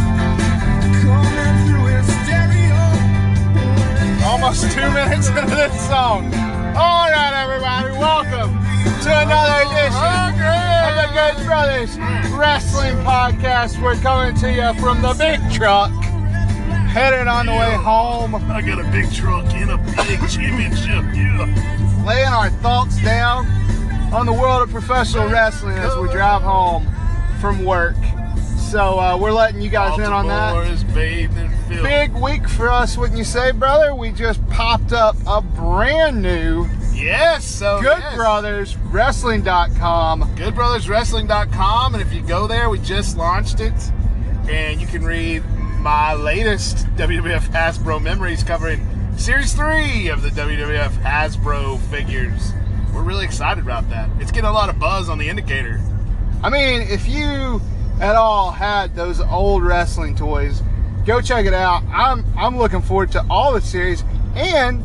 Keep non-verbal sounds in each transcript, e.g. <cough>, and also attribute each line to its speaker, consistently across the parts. Speaker 1: <laughs> that song. All right, everybody, welcome to another edition of the Good Brothers Wrestling Podcast. We're coming to you from the big truck, headed on the way home,
Speaker 2: I got a big truck and a big championship. Yeah.
Speaker 1: laying our thoughts down on the world of professional wrestling as we drive home from work. So uh, we're letting you guys in on that.
Speaker 2: Baltimore is bathed in filth.
Speaker 1: Big week for us, wouldn't you say, brother? We just popped up a brand new
Speaker 2: Yes. So
Speaker 1: Good
Speaker 2: yes.
Speaker 1: Brothers Wrestling.com.
Speaker 2: GoodBrothersWrestling.com, and if you go there, we just launched it, and you can read my latest <laughs> WWF Hasbro memories covering Series Three of the WWF Hasbro figures. We're really excited about that. It's getting a lot of buzz on the indicator.
Speaker 1: I mean, if you at all had those old wrestling toys, go check it out. I'm I'm looking forward to all the series and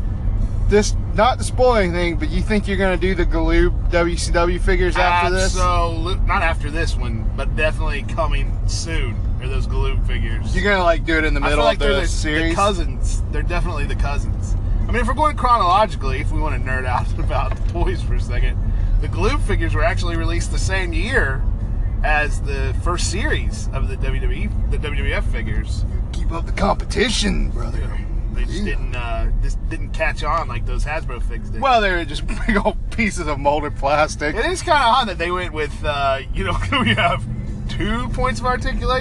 Speaker 1: this not to spoil anything, but you think you're gonna do the Galoob WCW figures after this?
Speaker 2: Absolute- not after this one, but definitely coming soon are those Galoob figures.
Speaker 1: You're gonna like do it in the
Speaker 2: I
Speaker 1: middle
Speaker 2: feel like
Speaker 1: of
Speaker 2: they're
Speaker 1: the,
Speaker 2: the,
Speaker 1: series.
Speaker 2: the cousins. They're definitely the cousins. I mean, if we're going chronologically, if we want to nerd out <laughs> about the toys for a second, the Gloob figures were actually released the same year as the first series of the WWE, the WWF figures.
Speaker 1: Keep up the competition, brother.
Speaker 2: They just didn't, uh, just didn't catch on like those Hasbro figs did.
Speaker 1: Well, they were just <laughs> big old pieces of molded plastic.
Speaker 2: it is kind of odd that they went with, uh, you know, <laughs> we have two points of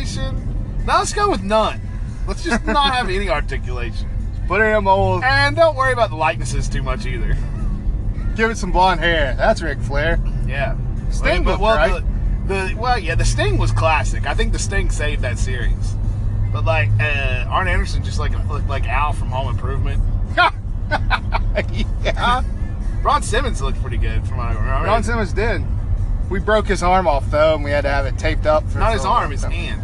Speaker 2: articulation. Now let's go with none. Let's
Speaker 1: <laughs>
Speaker 2: just not have any articulation.
Speaker 1: Put it in a mold.
Speaker 2: And don't worry about the likenesses too much either.
Speaker 1: Give it some blonde hair. That's Ric Flair. <laughs>
Speaker 2: Yeah,
Speaker 1: Sting
Speaker 2: But,
Speaker 1: looked
Speaker 2: well,
Speaker 1: right.
Speaker 2: the, the well, yeah, the Sting was classic. I think the Sting saved that series. But like uh, Arn Anderson, just like looked like Al from Home Improvement.
Speaker 1: yeah.
Speaker 2: Ron Simmons looked pretty good from what I remember.
Speaker 1: Uh-huh. Ron Simmons did. We broke his arm off though, and we had to have it taped up. For
Speaker 2: not his
Speaker 1: so long.
Speaker 2: arm, his hand.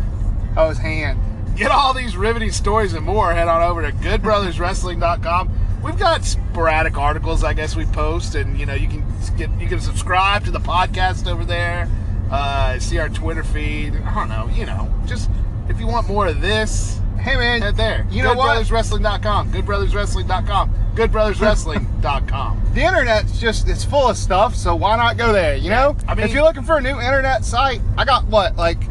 Speaker 1: Oh, his hand.
Speaker 2: Get all these riveting stories and more. Head on over to GoodBrothersWrestling.com. We've got sporadic articles, I guess we post, and you know you can get, you can subscribe to the podcast over there. Uh, see our Twitter feed. I don't know, you know, just if you want more of this,
Speaker 1: Hey man,
Speaker 2: Head there.
Speaker 1: You know what?
Speaker 2: Goodbrotherswrestling.com. Goodbrotherswrestling.com.
Speaker 1: <laughs>
Speaker 2: Goodbrotherswrestling.com.
Speaker 1: The internet's just it's full of stuff, so why not go there? You know,
Speaker 2: I mean-
Speaker 1: if you're looking for a new internet site, I got what like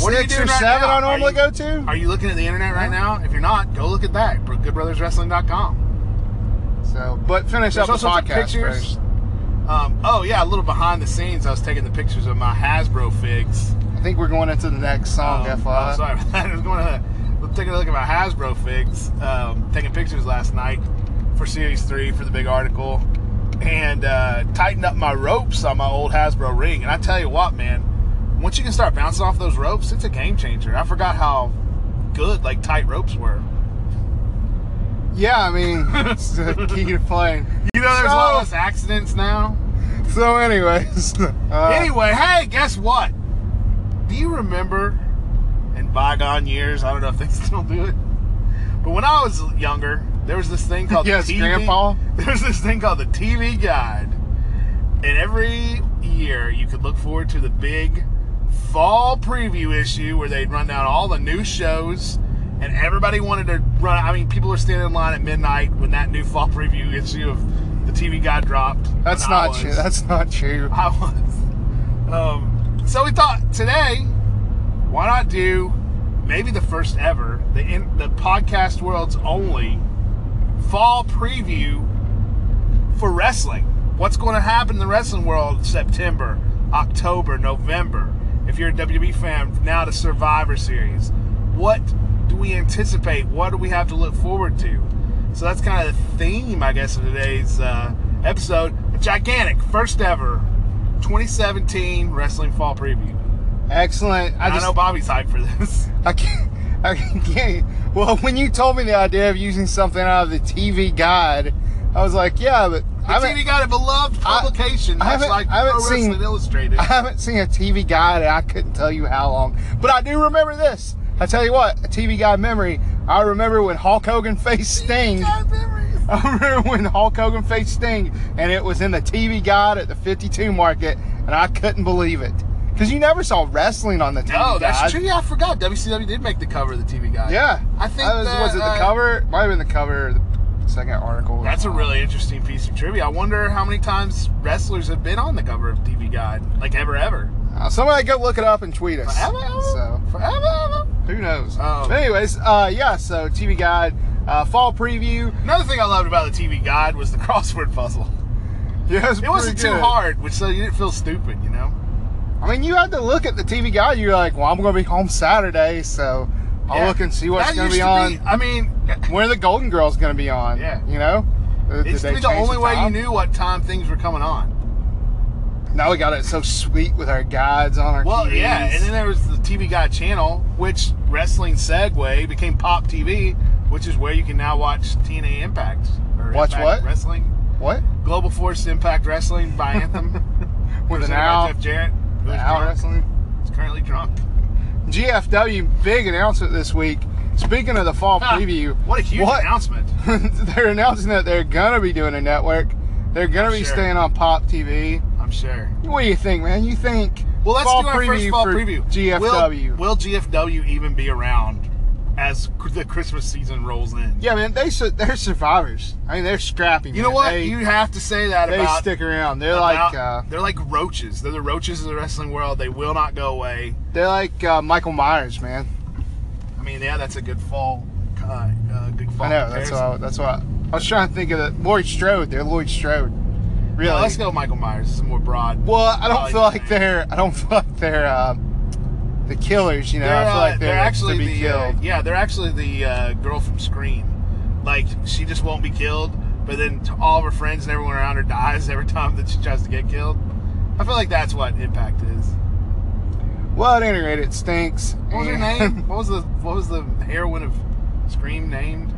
Speaker 2: What are you
Speaker 1: six or
Speaker 2: doing right
Speaker 1: seven
Speaker 2: now?
Speaker 1: I normally go
Speaker 2: Are
Speaker 1: to.
Speaker 2: Are you looking at the internet right now? If you're not, go look at that. bro- Goodbrotherswrestling.com.
Speaker 1: so, but finish
Speaker 2: There's
Speaker 1: up
Speaker 2: all
Speaker 1: the
Speaker 2: sorts
Speaker 1: podcast
Speaker 2: of pictures.
Speaker 1: first.
Speaker 2: Um, oh, yeah, a little behind the scenes. I was taking the pictures of my Hasbro figs.
Speaker 1: I think we're going into the next song,
Speaker 2: Um,
Speaker 1: FYI.
Speaker 2: oh, sorry about that. <laughs> I was going to was taking a look at my Hasbro figs. Um, taking pictures last night for Series 3 for the big article. And uh, tightened up my ropes on my old Hasbro ring. And I tell you what, man, once you can start bouncing off those ropes, it's a game changer. I forgot how good, like, tight ropes were.
Speaker 1: Yeah, I
Speaker 2: <laughs>
Speaker 1: mean, it's the key to playing.
Speaker 2: You know, there's
Speaker 1: so,
Speaker 2: a lot less accidents now.
Speaker 1: So, anyways, <laughs> uh,
Speaker 2: anyway, hey, guess what? Do you remember in bygone years? I don't know if they <laughs> still do it, but when I was younger, there was this thing called
Speaker 1: Yes,
Speaker 2: the TV.
Speaker 1: Grandpa.
Speaker 2: <laughs> There was this thing called the TV Guide, and every year you could look forward to the big fall preview issue where they'd run down all the new shows. And everybody wanted to run. I mean, people were standing in line at midnight when that new fall <laughs> preview issue of the TV Guide dropped.
Speaker 1: that's
Speaker 2: And I
Speaker 1: not true.
Speaker 2: was-
Speaker 1: That's not true.
Speaker 2: <laughs> I was. Um, so we thought today, why not do maybe the first ever, the in, the podcast world's only fall preview for wrestling. What's going to happen in the wrestling world in September, October, November? If you're a WWE fan, now to Survivor Series. What do we anticipate? What do we have to look forward to? So that's kind of the theme, I guess, of today's uh, episode. A gigantic, first ever 2017 wrestling fall preview.
Speaker 1: Excellent. I
Speaker 2: I,
Speaker 1: just
Speaker 2: know Bobby's hyped for this.
Speaker 1: I can't. I can't. Well, when you told me the idea of using something out of the TV guide, I was like, yeah, but
Speaker 2: The
Speaker 1: I haven't,
Speaker 2: TV got a beloved
Speaker 1: I-
Speaker 2: publication,
Speaker 1: I
Speaker 2: much
Speaker 1: haven't-
Speaker 2: like
Speaker 1: I haven't
Speaker 2: Pro Wrestling
Speaker 1: seen-
Speaker 2: Illustrated.
Speaker 1: I haven't seen a TV guide, and I couldn't tell you how long. But I do remember this. I tell you what, a TV guide memory. I remember when Hulk Hogan faced Sting.
Speaker 2: Got memories.
Speaker 1: <laughs> I remember when Hulk Hogan faced Sting, and it was in the TV guide at the 52 market, and I couldn't believe it. Because you never saw wrestling on the TV
Speaker 2: No,
Speaker 1: guide.
Speaker 2: Oh, that's true. Yeah, I forgot. WCW did make the cover of the TV Guide.
Speaker 1: Yeah.
Speaker 2: I think
Speaker 1: That was,
Speaker 2: that,
Speaker 1: was it the
Speaker 2: uh,
Speaker 1: cover? Might have been the cover. second article.
Speaker 2: That's a really interesting piece of trivia. I wonder how many times wrestlers have been on the cover of TV Guide, like ever, ever.
Speaker 1: Uh, somebody go look it up and tweet us.
Speaker 2: Forever,
Speaker 1: So.
Speaker 2: ever, forever, ever.
Speaker 1: Who knows?
Speaker 2: Um,
Speaker 1: But anyways, uh, yeah. So TV Guide, uh, fall preview. <laughs>
Speaker 2: Another thing I loved about the TV Guide was the <laughs> crossword puzzle.
Speaker 1: Yeah, was
Speaker 2: It wasn't
Speaker 1: pretty
Speaker 2: too
Speaker 1: good.
Speaker 2: hard, which so you didn't feel stupid, you know.
Speaker 1: I mean, you had to look at the TV Guide. You're like, well, I'm going to be home Saturday, so I'll
Speaker 2: Yeah.
Speaker 1: look and see what's
Speaker 2: That
Speaker 1: going to be
Speaker 2: used
Speaker 1: on.
Speaker 2: I mean,
Speaker 1: When are the Golden Girls going to be on?
Speaker 2: Yeah.
Speaker 1: You know. Uh,
Speaker 2: it
Speaker 1: did
Speaker 2: used to
Speaker 1: they
Speaker 2: be the
Speaker 1: change
Speaker 2: only way you
Speaker 1: time?
Speaker 2: knew what time things were coming on.
Speaker 1: Now we got it so sweet with our guides on our
Speaker 2: Well,
Speaker 1: TVs.
Speaker 2: yeah, and then there was the TV Guide channel, which wrestling segue became Pop TV, which is where you can now watch TNA Impact or
Speaker 1: Watch
Speaker 2: Impact
Speaker 1: what?
Speaker 2: Wrestling.
Speaker 1: what?
Speaker 2: Global Force Impact
Speaker 1: <laughs>
Speaker 2: Wrestling by Anthem.
Speaker 1: With an
Speaker 2: Presented by
Speaker 1: owl,
Speaker 2: Jeff Jarrett, who's
Speaker 1: an owl
Speaker 2: drunk.
Speaker 1: wrestling.
Speaker 2: He's currently drunk.
Speaker 1: GFW big announcement this week. Speaking of the fall <laughs>
Speaker 2: Ah,
Speaker 1: preview,
Speaker 2: What a huge
Speaker 1: what-
Speaker 2: announcement.
Speaker 1: <laughs> they're announcing that they're gonna be doing a network. They're gonna be
Speaker 2: Sure.
Speaker 1: staying on Pop TV.
Speaker 2: I'm sure.
Speaker 1: What do you think, man? You think?
Speaker 2: Well, let's
Speaker 1: fall
Speaker 2: do our first fall
Speaker 1: for
Speaker 2: preview.
Speaker 1: GFW.
Speaker 2: Will, will GFW even be around as cr- the Christmas season rolls in?
Speaker 1: yeah, man, they su- they're survivors. I mean, they're scrappy.
Speaker 2: You know
Speaker 1: man.
Speaker 2: what?
Speaker 1: They,
Speaker 2: you have to say that
Speaker 1: they
Speaker 2: about.
Speaker 1: stick around. They're
Speaker 2: about-
Speaker 1: like uh,
Speaker 2: they're like roaches. They're the roaches of the wrestling world. They will not go away.
Speaker 1: they're like uh, Michael Myers, man.
Speaker 2: I mean, yeah, that's a good fall. Uh, uh, good fall.
Speaker 1: I know. That's
Speaker 2: comparison.
Speaker 1: what I, that's what I, I was trying to think of. That Lloyd Strode. They're Lloyd Strode. Really?
Speaker 2: No, let's go, Michael Myers. This is more broad.
Speaker 1: Well, I don't
Speaker 2: Probably
Speaker 1: feel
Speaker 2: the
Speaker 1: like
Speaker 2: same.
Speaker 1: they're. I don't <laughs> feel like they're uh, the killers. You know, I feel
Speaker 2: uh,
Speaker 1: like they're, to
Speaker 2: actually
Speaker 1: be
Speaker 2: the
Speaker 1: killed.
Speaker 2: Uh, yeah, they're actually the uh, girl from Scream. Like she just won't be killed, but then t- all of her friends and everyone around her dies every time that she tries to get killed. I feel like that's what Impact is.
Speaker 1: Well, at any rate, it stinks.
Speaker 2: What was her
Speaker 1: and- <laughs> um,
Speaker 2: name? What was the What was the heroine of Scream named?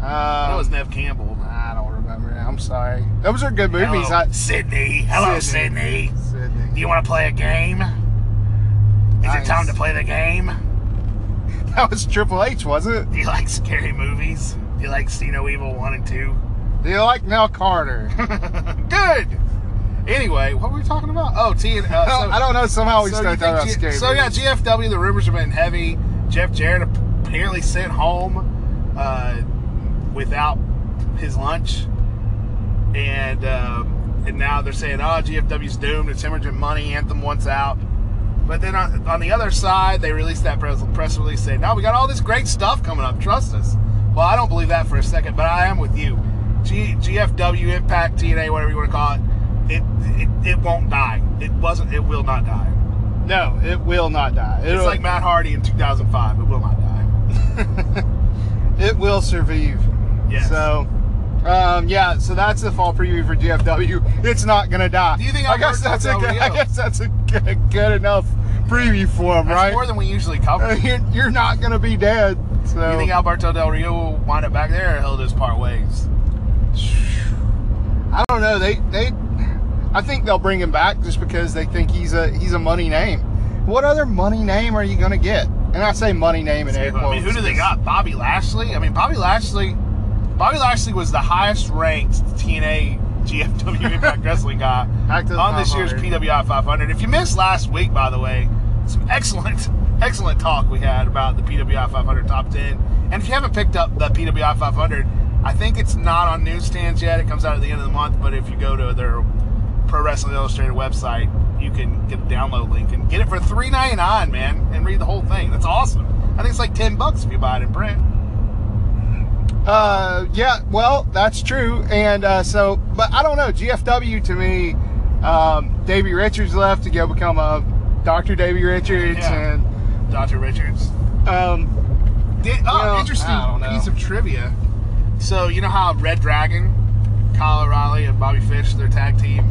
Speaker 2: That
Speaker 1: Uh,
Speaker 2: was Nev Campbell.
Speaker 1: I don't remember. now, I'm sorry. Those are good movies.
Speaker 2: Hello,
Speaker 1: I,
Speaker 2: Sydney. Hello,
Speaker 1: Sydney.
Speaker 2: Sydney. Do
Speaker 1: Sydney.
Speaker 2: you want to play a game? Is
Speaker 1: Nice.
Speaker 2: it time to play the game?
Speaker 1: <laughs> That was Triple H, was it?
Speaker 2: Do you <laughs> like scary movies? Do you like See No Evil One and Two?
Speaker 1: Do you like Mel Carter?
Speaker 2: <laughs> Good. Anyway, what were we talking about? Oh, T <laughs> and uh,
Speaker 1: I, don't,
Speaker 2: so,
Speaker 1: I don't know. Somehow we
Speaker 2: so you
Speaker 1: started talking about
Speaker 2: think G-
Speaker 1: scary.
Speaker 2: So yeah,
Speaker 1: movies.
Speaker 2: GFW. The rumors have been heavy. Jeff Jarrett apparently sent home uh, without his lunch, and um, and now they're saying, oh, GFW's doomed. It's hemorrhaging money. Anthem wants out. But then on, on the other side, they released that press, press release saying, no, we got all this great stuff coming up. Trust us. Well, I don't believe that for a second, but I am with you. G, GFW, Impact, TNA, whatever you want to call it, it, it, it won't die. It wasn't. It will not die.
Speaker 1: no, it will not die. It'll,
Speaker 2: It's like Matt Hardy in 2005. It will not die.
Speaker 1: it will survive.
Speaker 2: Yes.
Speaker 1: So, um, yeah. So that's the fall preview for GFW. It's not gonna die.
Speaker 2: Do you think
Speaker 1: I
Speaker 2: I've
Speaker 1: guess
Speaker 2: heard
Speaker 1: that's a
Speaker 2: from
Speaker 1: good,
Speaker 2: Del
Speaker 1: I
Speaker 2: Rio?
Speaker 1: guess that's a good, good enough preview for them,
Speaker 2: That's
Speaker 1: right?
Speaker 2: more than we
Speaker 1: <laughs>
Speaker 2: usually cover. you
Speaker 1: you're, you're not gonna be dead. So
Speaker 2: think Alberto Del Rio will wind up back there, or he'll just part ways?
Speaker 1: I don't know. They they I think they'll bring him back just because they think he's a he's a money name. What other money name are you gonna get? And I say money name in air
Speaker 2: I
Speaker 1: quotes.
Speaker 2: mean, who do they
Speaker 1: 'cause-
Speaker 2: got? Bobby Lashley. I mean, Bobby Lashley. Bobby Lashley was the highest ranked TNA GFW Impact Wrestling guy
Speaker 1: Back to the
Speaker 2: on this year's
Speaker 1: 500.
Speaker 2: PWI 500. If you missed last week, by the way, some excellent, <laughs> excellent talk we had about the PWI 500 top 10. And if you haven't picked up the PWI 500, I think it's not on newsstands yet. It comes out at the end of the month, but if you go to their Pro Wrestling Illustrated website, you can get a download link and get it for $3.99, man, and read the whole thing. That's awesome. I think it's like 10 bucks if you buy it in print.
Speaker 1: Uh, yeah, well, that's true. And uh, so, but I don't know. GFW to me, um, Davey Richards left to go become a Dr. Davey Richards,
Speaker 2: Yeah.
Speaker 1: and
Speaker 2: Dr. Richards.
Speaker 1: um,
Speaker 2: Did, oh,
Speaker 1: You know,
Speaker 2: interesting
Speaker 1: I don't know.
Speaker 2: piece of trivia. So you know how Red Dragon, Kyle O'Reilly and Bobby Fish, their tag team,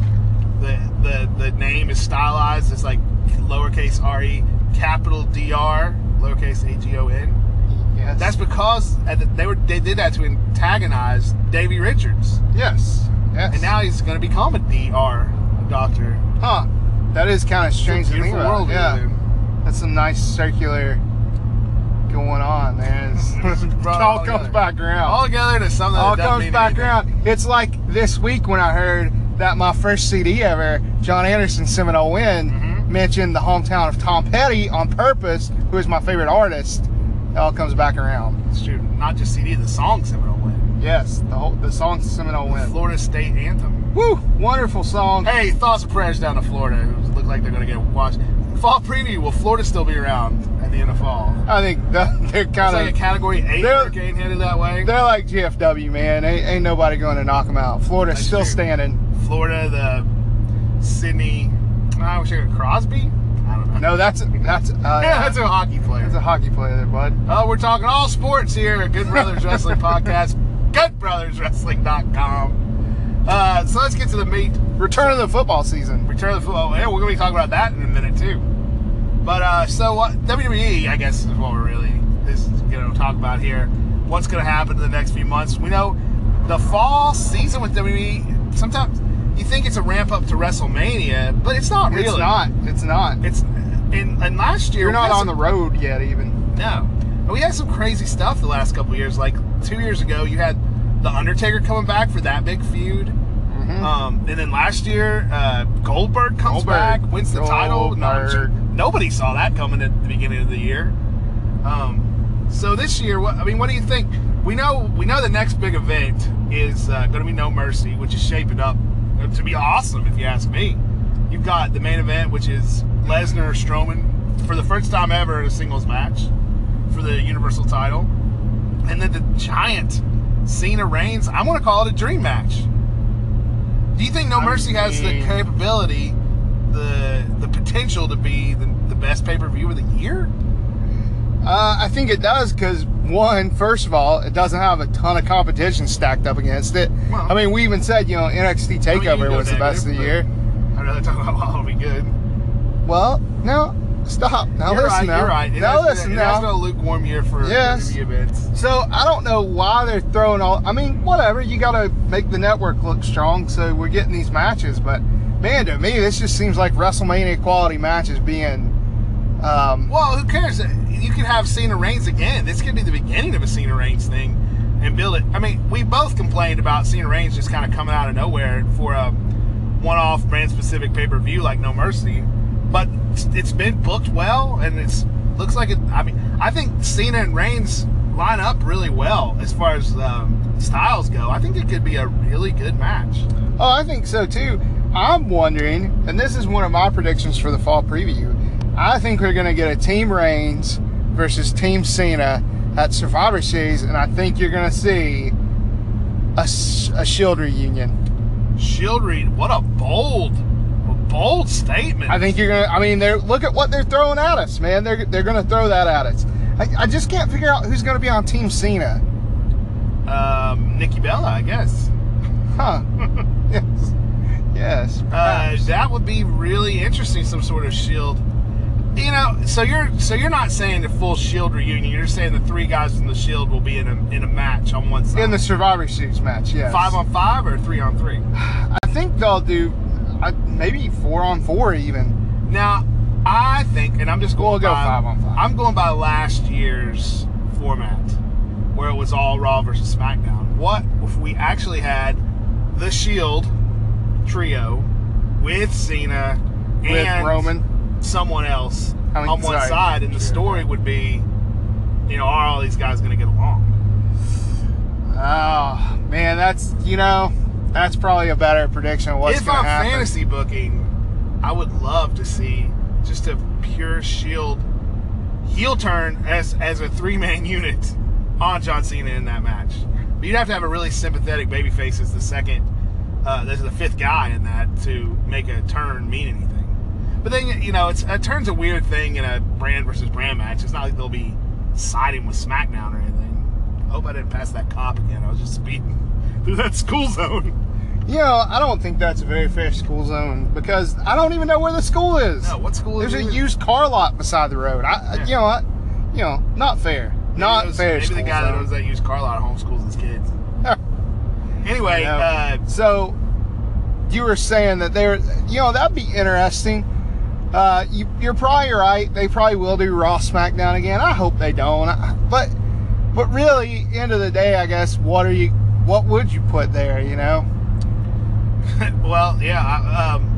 Speaker 2: the the the name is stylized. It's like lowercase r e, capital D R, lowercase a g o n.
Speaker 1: yes,
Speaker 2: That's because at the, they were they did that to antagonize Davy Richards,
Speaker 1: yes, yes.
Speaker 2: and now he's going to become a D R doctor.
Speaker 1: huh? That is kind of strange
Speaker 2: It's a
Speaker 1: to think
Speaker 2: beautiful
Speaker 1: about.
Speaker 2: world we
Speaker 1: yeah.
Speaker 2: live in.
Speaker 1: That's some nice circular going on there.
Speaker 2: <laughs>
Speaker 1: It's- it
Speaker 2: Brought it
Speaker 1: all
Speaker 2: all
Speaker 1: comes
Speaker 2: together.
Speaker 1: back around.
Speaker 2: All together to something. that
Speaker 1: All
Speaker 2: doesn't
Speaker 1: comes
Speaker 2: mean
Speaker 1: back
Speaker 2: anything.
Speaker 1: around. It's like this week when I heard that my first CD ever, John Anderson Seminole Wind,
Speaker 2: Mhm.
Speaker 1: mentioned the hometown of Tom Petty on purpose, who is my favorite artist. It all comes back around.
Speaker 2: It's true. Not just CD, the song Seminole win.
Speaker 1: Yes, the whole the song Seminole Wind.
Speaker 2: Florida State Anthem.
Speaker 1: Woo! Wonderful song.
Speaker 2: Hey, thoughts and prayers down to Florida. who Look like they're going to get washed. Fall preview. Will Florida still be around at the end of fall?
Speaker 1: I think <laughs> the, they're
Speaker 2: It's
Speaker 1: kind
Speaker 2: like a
Speaker 1: of
Speaker 2: Category 8
Speaker 1: They're-
Speaker 2: hurricane headed that way.
Speaker 1: they're like GFW, man. Ain't, ain't nobody going to knock them out. Florida's
Speaker 2: That's
Speaker 1: still
Speaker 2: true.
Speaker 1: standing.
Speaker 2: Florida, the Sydney. I wish I could Crosby. I don't know.
Speaker 1: No, that's that's uh,
Speaker 2: <laughs> Yeah, that's a hockey player.
Speaker 1: that's a hockey player there, bud.
Speaker 2: Uh, we're talking all sports here at Good
Speaker 1: <laughs>
Speaker 2: Brothers Wrestling Podcast, goodbrotherswrestling.com. Uh, so let's get to the meat.
Speaker 1: Return of the football season.
Speaker 2: Return of the football. Yeah, we're going to be talking about that in a minute, too. But uh, so what? WWE, I guess, is what we're really is going to talk about here. What's going to happen in the next few months? We know the fall season with WWE, sometimes you think it's a ramp up to WrestleMania, but it's not really.
Speaker 1: It's not. It's not.
Speaker 2: It's, and, and last year,
Speaker 1: You're
Speaker 2: we
Speaker 1: not
Speaker 2: had
Speaker 1: on
Speaker 2: some-
Speaker 1: the road yet, even.
Speaker 2: no. And we had some crazy stuff the last couple years. Like two years ago, you had The Undertaker coming back for that big feud.
Speaker 1: Mm.
Speaker 2: Um, and then last year, uh, Goldberg comes
Speaker 1: Goldberg.
Speaker 2: back, wins the title. No, I'm sure-
Speaker 1: Goldberg.
Speaker 2: nobody saw that coming at the beginning of the year. Um, so this year, what, I mean, what do you think? We know we know the next big event is uh, going to be No Mercy, which is shaping up to be awesome, if you ask me. You've got the main event, which is Lesnar Strowman for the first time ever in a singles match for the Universal title, and then the giant Cena Reigns. I'm going to call it a dream match. Do you think No
Speaker 1: I
Speaker 2: Mercy has the
Speaker 1: mean-
Speaker 2: capability, the the potential to be the, the best pay per view of the year?
Speaker 1: Uh, I think it does because one, first of all, it doesn't have a ton of competition stacked up against it.
Speaker 2: Well-
Speaker 1: I mean, we even said you know NXT
Speaker 2: I mean, you
Speaker 1: Takeover
Speaker 2: can go
Speaker 1: was the best of the year.
Speaker 2: negative, but I'd rather talk about <laughs> how it'll be good.
Speaker 1: Well, no, stop. Now
Speaker 2: you're
Speaker 1: listen
Speaker 2: right.
Speaker 1: now.
Speaker 2: You're right. It
Speaker 1: Now
Speaker 2: has,
Speaker 1: listen
Speaker 2: it
Speaker 1: now.
Speaker 2: has been a lukewarm year for
Speaker 1: Yes.
Speaker 2: pay-per-view events.
Speaker 1: So I don't know why they're throwing all. I mean, whatever. You got to make the network look strong, so we're getting these matches. But man, to me, this just seems like WrestleMania quality matches being. Um,
Speaker 2: Well, who cares? You could have Cena Reigns again. This could be the beginning of a Cena Reigns thing, and build it. I mean, we both complained about Cena Reigns just kind of coming out of nowhere for a one-off brand-specific pay-per-view like No Mercy, but it's- it's been booked well, and it's looks like it. I mean, I think Cena and Reigns line up really well as far as um, styles go. I think it could be a really good match.
Speaker 1: oh, I think so too. I'm wondering, and this is one of my predictions for the fall preview. I think we're going to get a Team Reigns versus Team Cena at Survivor Series, and I think you're going to see a, s- a Shield reunion.
Speaker 2: Shield Reed, what a bold, bold statement.
Speaker 1: I think you're gonna. I mean, they're look at what they're throwing at us, man. They're they're gonna throw that at us. I, I just can't figure out who's gonna be on Team Cena,
Speaker 2: um, Nikki Bella, I guess.
Speaker 1: huh? <laughs> yes, yes.
Speaker 2: Uh,
Speaker 1: perhaps.
Speaker 2: that would be really interesting. Some sort of shield. You know, so you're so you're not saying the full shield reunion. You're saying the three guys from the shield will be in a in a match on one side.
Speaker 1: in the Survivor Series match, yes.
Speaker 2: five on five or three on three.
Speaker 1: I think they'll do, I, maybe four on four even.
Speaker 2: Now, I think, and I'm just going
Speaker 1: We'll go
Speaker 2: by,
Speaker 1: five on five.
Speaker 2: I'm going by last year's format, where it was all Raw versus SmackDown. What if we actually had the Shield trio with Cena
Speaker 1: With
Speaker 2: and
Speaker 1: Roman.
Speaker 2: someone else
Speaker 1: I mean,
Speaker 2: on one
Speaker 1: sorry.
Speaker 2: side, and the
Speaker 1: Sure.
Speaker 2: story would be, you know, are all these guys going to get along?
Speaker 1: Oh man, that's you know, that's probably a better prediction. Of what's
Speaker 2: if
Speaker 1: gonna
Speaker 2: I'm
Speaker 1: happen.
Speaker 2: fantasy booking, I would love to see just a pure Shield heel turn as as a three man <laughs> unit on John Cena in that match. But you'd have to have a really sympathetic babyface as the second, uh, as the fifth guy in that to make a turn mean anything. But then you know, it's a turn's a weird thing in a brand versus brand match. It's not like they'll be siding with SmackDown or anything. I hope I didn't pass that cop again. I was just speeding <laughs> through that school zone.
Speaker 1: You know, I don't think that's a very fair school zone because I don't even know where the school is.
Speaker 2: No, what school
Speaker 1: There's
Speaker 2: is
Speaker 1: a
Speaker 2: it?
Speaker 1: used car lot beside the road. I,
Speaker 2: Yeah.
Speaker 1: you know, I, you know, not fair. not
Speaker 2: maybe those-
Speaker 1: fair.
Speaker 2: Maybe the
Speaker 1: school
Speaker 2: guy that
Speaker 1: zone.
Speaker 2: owns that used car lot homeschools his kids.
Speaker 1: <laughs>
Speaker 2: Anyway,
Speaker 1: You know,
Speaker 2: uh,
Speaker 1: so you were saying that there, you know, that'd be interesting. Uh, you, you're probably right. They probably will do Raw SmackDown again. I hope they don't. I, but, but really, end of the day, I guess, what are you? What would you put there? You know,
Speaker 2: uh, <laughs> well, yeah, I- um,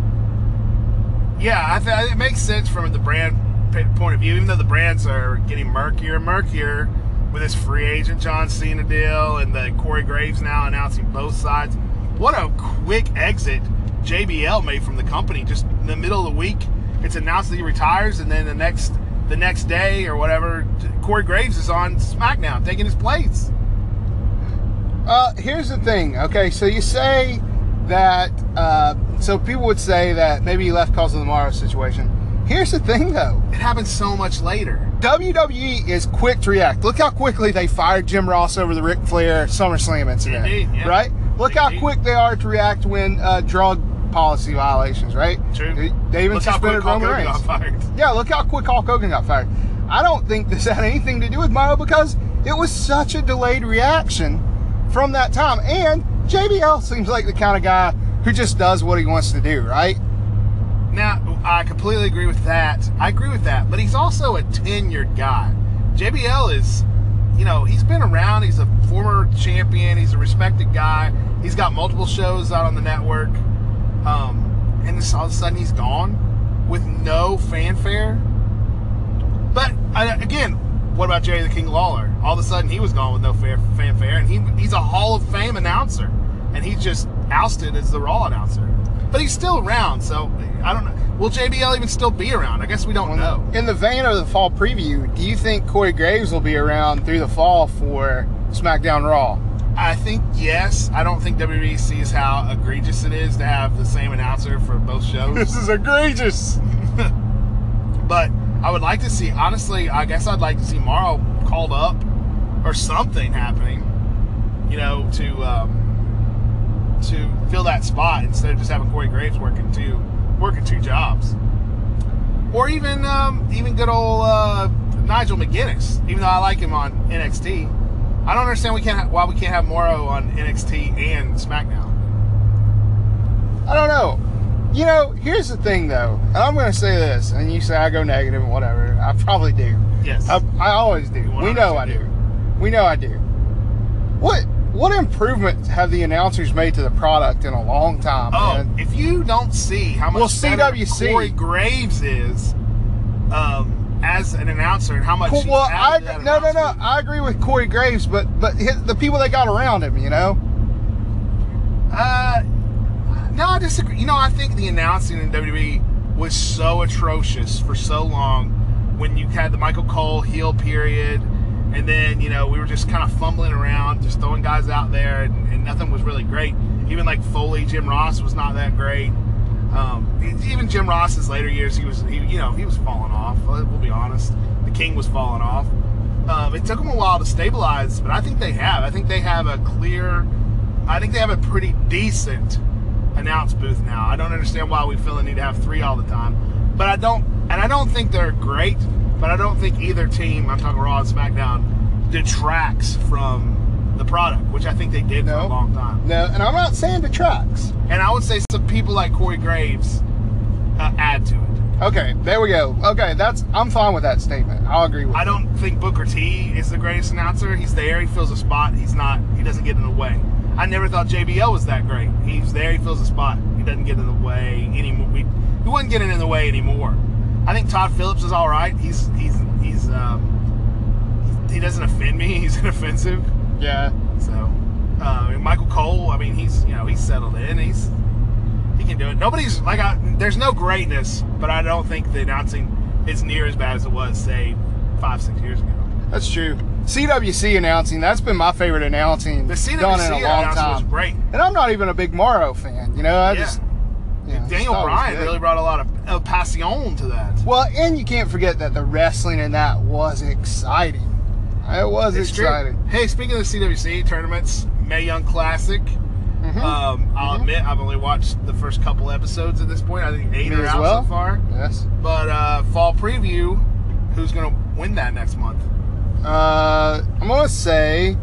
Speaker 2: yeah, I th- it makes sense from the brand p- point of view. Even though the brands are getting murkier and murkier, with his free agent John Cena deal and the Corey Graves now announcing both sides. What a quick exit JBL made from the company just in the middle of the week. It's announced that he retires, and then the next the next day or whatever, Corey Graves is on SmackDown taking his place.
Speaker 1: Uh, here's the thing. Okay, so you say that. Uh, so people would say that maybe he left because of the Morrow situation. Here's the thing, though.
Speaker 2: It happens so much later.
Speaker 1: WWE E is quick to react. Look how quickly they fired Jim Ross over the Ric Flair SummerSlam incident.
Speaker 2: Indeed, yeah.
Speaker 1: Right? Look how
Speaker 2: Indeed.
Speaker 1: quick they are to react when uh, drug policy violations. Right?
Speaker 2: True.
Speaker 1: They, they even
Speaker 2: Look how
Speaker 1: suspended
Speaker 2: quick Hulk
Speaker 1: Roman
Speaker 2: Hogan
Speaker 1: Reigns.
Speaker 2: got fired.
Speaker 1: Yeah, look how quick Hulk Hogan got fired. I don't think this had anything to do with Mario because it was such a delayed reaction from that time. And JBL seems like the kind of guy who just does what he wants to do, right?
Speaker 2: Now, I completely agree with that. I agree with that, but he's also a tenured guy. JBL is, you know, he's been around. He's a former champion. He's a respected guy. He's got multiple shows out on the network. Um, and just all of a sudden he's gone with no fanfare. But I, again, what about Jerry the King Lawler? All of a sudden he was gone with no fair, fanfare, and he, he's a Hall of Fame announcer. And he's just ousted as the Raw announcer. But he's still around, so I don't know. Will JBL even still be around? I guess we don't know.
Speaker 1: In the vein of the fall preview, do you think Corey Graves will be around through the fall for SmackDown Raw?
Speaker 2: I think yes. I don't think WWE sees how egregious it is to have the same announcer for
Speaker 1: <laughs>
Speaker 2: both shows.
Speaker 1: is egregious.
Speaker 2: <laughs> but I would like to see. Honestly, I guess I'd like to see Morrow called up or something happening. You know, to um, to fill that spot instead of just having Corey Graves working two working two jobs, or even um, even good old uh, Nigel McGuinness. Even though I like him on NXT, I don't understand we can't ha- why we can't have Morrow on NXT and SmackDown.
Speaker 1: I don't know. You know, here's the thing though, and I'm going to say this, and you say I go negative and whatever. I probably do.
Speaker 2: Yes,
Speaker 1: I, I always do. We know I
Speaker 2: 100%
Speaker 1: do.
Speaker 2: do.
Speaker 1: We know I do. What what improvements have the announcers made to the product in a long time?
Speaker 2: Oh,
Speaker 1: man?
Speaker 2: if you don't see how much
Speaker 1: Well,
Speaker 2: better
Speaker 1: CWC
Speaker 2: Corey Graves is um, as an announcer and how much
Speaker 1: Cool,
Speaker 2: he's
Speaker 1: well, I
Speaker 2: added to that
Speaker 1: no no no.
Speaker 2: announcement.
Speaker 1: I agree with Corey Graves, but but his, the people that got around him, you know.
Speaker 2: Uh, no, I disagree. You know, I think the announcing in WWE was so atrocious for so long when you had the Michael Cole heel period, and then you know we were just kind of fumbling around, just throwing guys out there, and, and nothing was really great. Even like Foley, Jim Ross was not that great. Um, even Jim Ross's later years, he was he, you know he was falling off. We'll be honest, the King was falling off. Um, it took them a while to stabilize, but I think they have. I think they have a clear. I think they have a pretty decent announce booth now. I don't understand why we feel the need to have three all the time, but I don't, and I don't think they're great. But I don't think either team, I'm talking Raw and SmackDown, detracts from the product, which I think they did for
Speaker 1: No.
Speaker 2: a long time.
Speaker 1: No, and I'm not saying detracts.
Speaker 2: And I would say some people like Corey Graves uh, add to it.
Speaker 1: Okay, there we go. Okay, that's I'm fine with that statement. I'll agree with.
Speaker 2: I
Speaker 1: it.
Speaker 2: don't think Booker T is the greatest announcer. He's there, he fills a spot. He's not, he doesn't get in the way. I never thought JBL was that great. He's there, he fills a spot. He doesn't get in the way anymore. We, he wasn't getting in the way anymore. I think Todd Phillips is all right. He's he's he's um, he doesn't offend me. <laughs> He's inoffensive.
Speaker 1: Yeah.
Speaker 2: So, uh, and Michael Cole, I mean, he's you know he's settled in. He's he can do it. Nobody's like I, there's no greatness, but I don't think the announcing is near as bad as it was say five six years ago.
Speaker 1: That's true. CWC announcing, that's been my favorite announcing
Speaker 2: The CWC
Speaker 1: done in a long
Speaker 2: announcing was
Speaker 1: time.
Speaker 2: great.
Speaker 1: And I'm not even a big Morrow fan, you know. I
Speaker 2: Yeah.
Speaker 1: just you know, just
Speaker 2: Daniel
Speaker 1: thought it was
Speaker 2: Bryan
Speaker 1: good.
Speaker 2: really brought a lot of, of passion to that.
Speaker 1: Well, and you can't forget that the wrestling in that was exciting. It was
Speaker 2: It's true.
Speaker 1: exciting.
Speaker 2: Hey, speaking of the CWC tournaments, May Young Classic.
Speaker 1: Mhm.
Speaker 2: Um, I'll
Speaker 1: Mhm.
Speaker 2: admit I've only watched the first couple episodes at this point. I think eight
Speaker 1: Me
Speaker 2: are
Speaker 1: as
Speaker 2: out
Speaker 1: well.
Speaker 2: so far.
Speaker 1: Yes.
Speaker 2: But uh, fall preview, who's gonna win that next month?
Speaker 1: Uh, I'm gonna say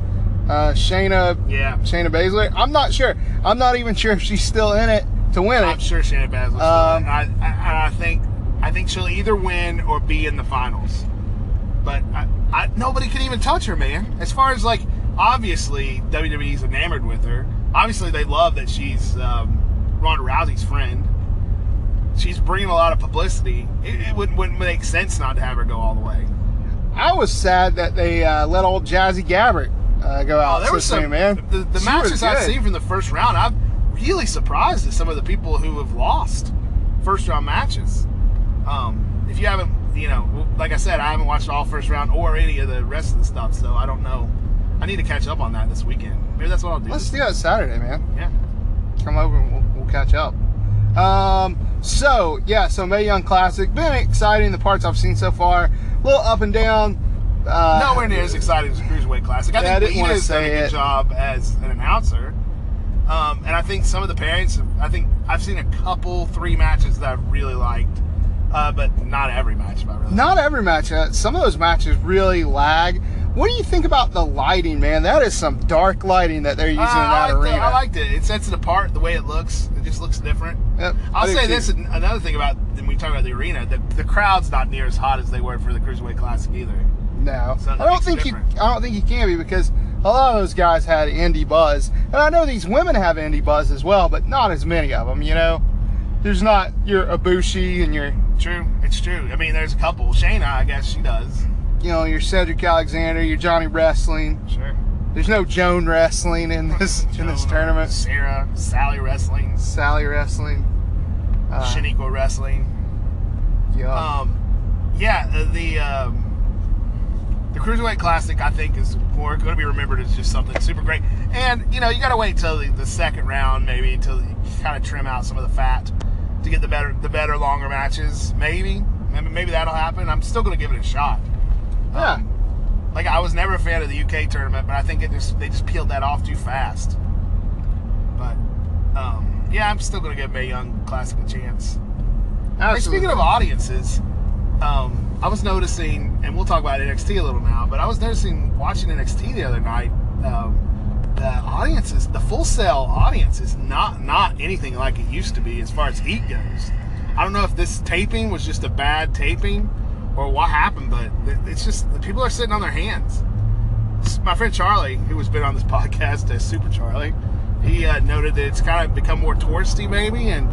Speaker 1: uh, Shayna
Speaker 2: Yeah,
Speaker 1: Shayna Baszler. I'm not sure. I'm not even sure if she's still in it to win
Speaker 2: I'm
Speaker 1: it.
Speaker 2: sure Shannon Baszler.
Speaker 1: Um,
Speaker 2: I, I, I think I think she'll either win or be in the finals. But I, I, nobody can even touch her, man. As far as like, obviously WWE's enamored with her. Obviously, they love that she's um, Ronda Rousey's friend. She's bringing a lot of publicity. It, it wouldn't, wouldn't make sense not to have her go all the way.
Speaker 1: I was sad that they uh, let old Jazzy Gabbert uh, go out.
Speaker 2: Oh, there was
Speaker 1: so soon,
Speaker 2: some
Speaker 1: man.
Speaker 2: The, the
Speaker 1: She was
Speaker 2: matches I've
Speaker 1: good.
Speaker 2: seen from the first round. I'm really surprised at some of the people who have lost first round matches. Um, if you haven't, you know, like I said, I haven't watched all first round or any of the rest of the stuff, so I don't know. I need to catch up on that this weekend. Maybe that's what I'll do.
Speaker 1: Let's do that Saturday, man.
Speaker 2: yeah.
Speaker 1: come over and we'll, we'll catch up. Um, so yeah, so May Young Classic been exciting. The parts I've seen so far, a little up and down. Uh,
Speaker 2: Nowhere near as exciting as Cruiserweight Classic. I
Speaker 1: Yeah, I
Speaker 2: think
Speaker 1: didn't wanna
Speaker 2: Lita's done a
Speaker 1: say
Speaker 2: good
Speaker 1: it.
Speaker 2: job as an announcer. Um, and I think some of the parents, I think I've seen a couple, three matches that I really liked, uh, but not every match if I really
Speaker 1: Not every match. Uh, some of those matches really lag. What do you think about the lighting, man? That is some dark lighting that they're using
Speaker 2: Uh,
Speaker 1: in that
Speaker 2: I, liked
Speaker 1: arena.
Speaker 2: it. I liked it. It sets it apart the way it looks. It just looks different.
Speaker 1: Yep, I
Speaker 2: I'll
Speaker 1: do
Speaker 2: say
Speaker 1: too.
Speaker 2: this and another thing about when we talk about the arena, the, the crowd's not near as hot as they were for the Cruiserweight Classic either.
Speaker 1: No,
Speaker 2: So that
Speaker 1: I don't
Speaker 2: makes it
Speaker 1: think you.
Speaker 2: different.
Speaker 1: I don't think you can be because a lot of those guys had indie buzz, and I know these women have indie buzz as well, but not as many of them. You know, there's not your Abushi and your
Speaker 2: True, it's true. I mean, there's a couple. Shayna, I guess she does.
Speaker 1: you know, your Cedric Alexander, your Johnny Wrestling.
Speaker 2: <laughs> Sure.
Speaker 1: There's no Joan Wrestling in
Speaker 2: <laughs>
Speaker 1: this in this
Speaker 2: Jonah,
Speaker 1: tournament.
Speaker 2: Sarah, Sally Wrestling,
Speaker 1: Sally Wrestling. Uh,
Speaker 2: Shaniqua Wrestling.
Speaker 1: yeah.
Speaker 2: Um, yeah, the- the um, the Cruiserweight Classic, I think, is more going to be remembered as just something super great. And you know, you got to wait till the, the second round, maybe, till you kind of trim out some of the fat to get the better the better longer matches. Maybe, maybe, maybe that'll happen. I'm still going to give it a shot. uh,
Speaker 1: yeah.
Speaker 2: Like I was never a fan of the UK tournament, but I think it just they just peeled that off too fast. But um, yeah, I'm still gonna give May Young Classic a chance. Hey,
Speaker 1: Absolutely.
Speaker 2: speaking of audiences, um, I was noticing, and we'll talk about NXT a little now, but I was noticing watching NXT the other night. Um, the audiences, the full sale audience, is not not anything like it used to be as far as heat goes. I don't know if this taping was just a bad taping or what happened, but it- it's just the people are sitting on their hands. S- My friend Charlie, who has been on this <laughs> podcast as Super Charlie, he uh, noted that it's kind of become more touristy, maybe, and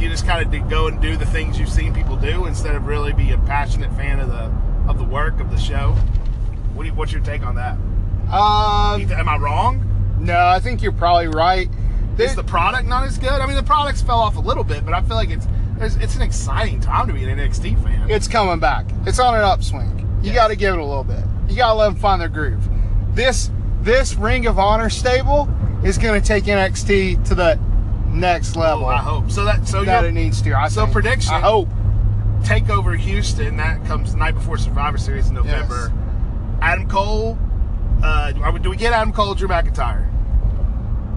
Speaker 2: you just kind of go and do the things you've seen people do instead of really be a passionate fan of the of the work of the show. What do you, what's your take on that? You
Speaker 1: um,
Speaker 2: th- Am I wrong?
Speaker 1: no, I think you're probably right.
Speaker 2: Is the product not as good? I mean, the products fell off a little bit, but I feel like it's there's, it's an exciting time to be an NXT fan.
Speaker 1: it's coming back. It's on an upswing. You
Speaker 2: Yes.
Speaker 1: got to give it a little bit. You got to let them find their groove. This this Ring of Honor stable is going to take NXT to the next level
Speaker 2: Oh, I hope so. That so
Speaker 1: that
Speaker 2: you're-
Speaker 1: it needs to. I
Speaker 2: so
Speaker 1: think.
Speaker 2: prediction-
Speaker 1: I hope.
Speaker 2: Takeover Houston. That comes the night before Survivor Series in November. Adam Cole. Uh, are we- do we get Adam Cole, Drew McIntyre?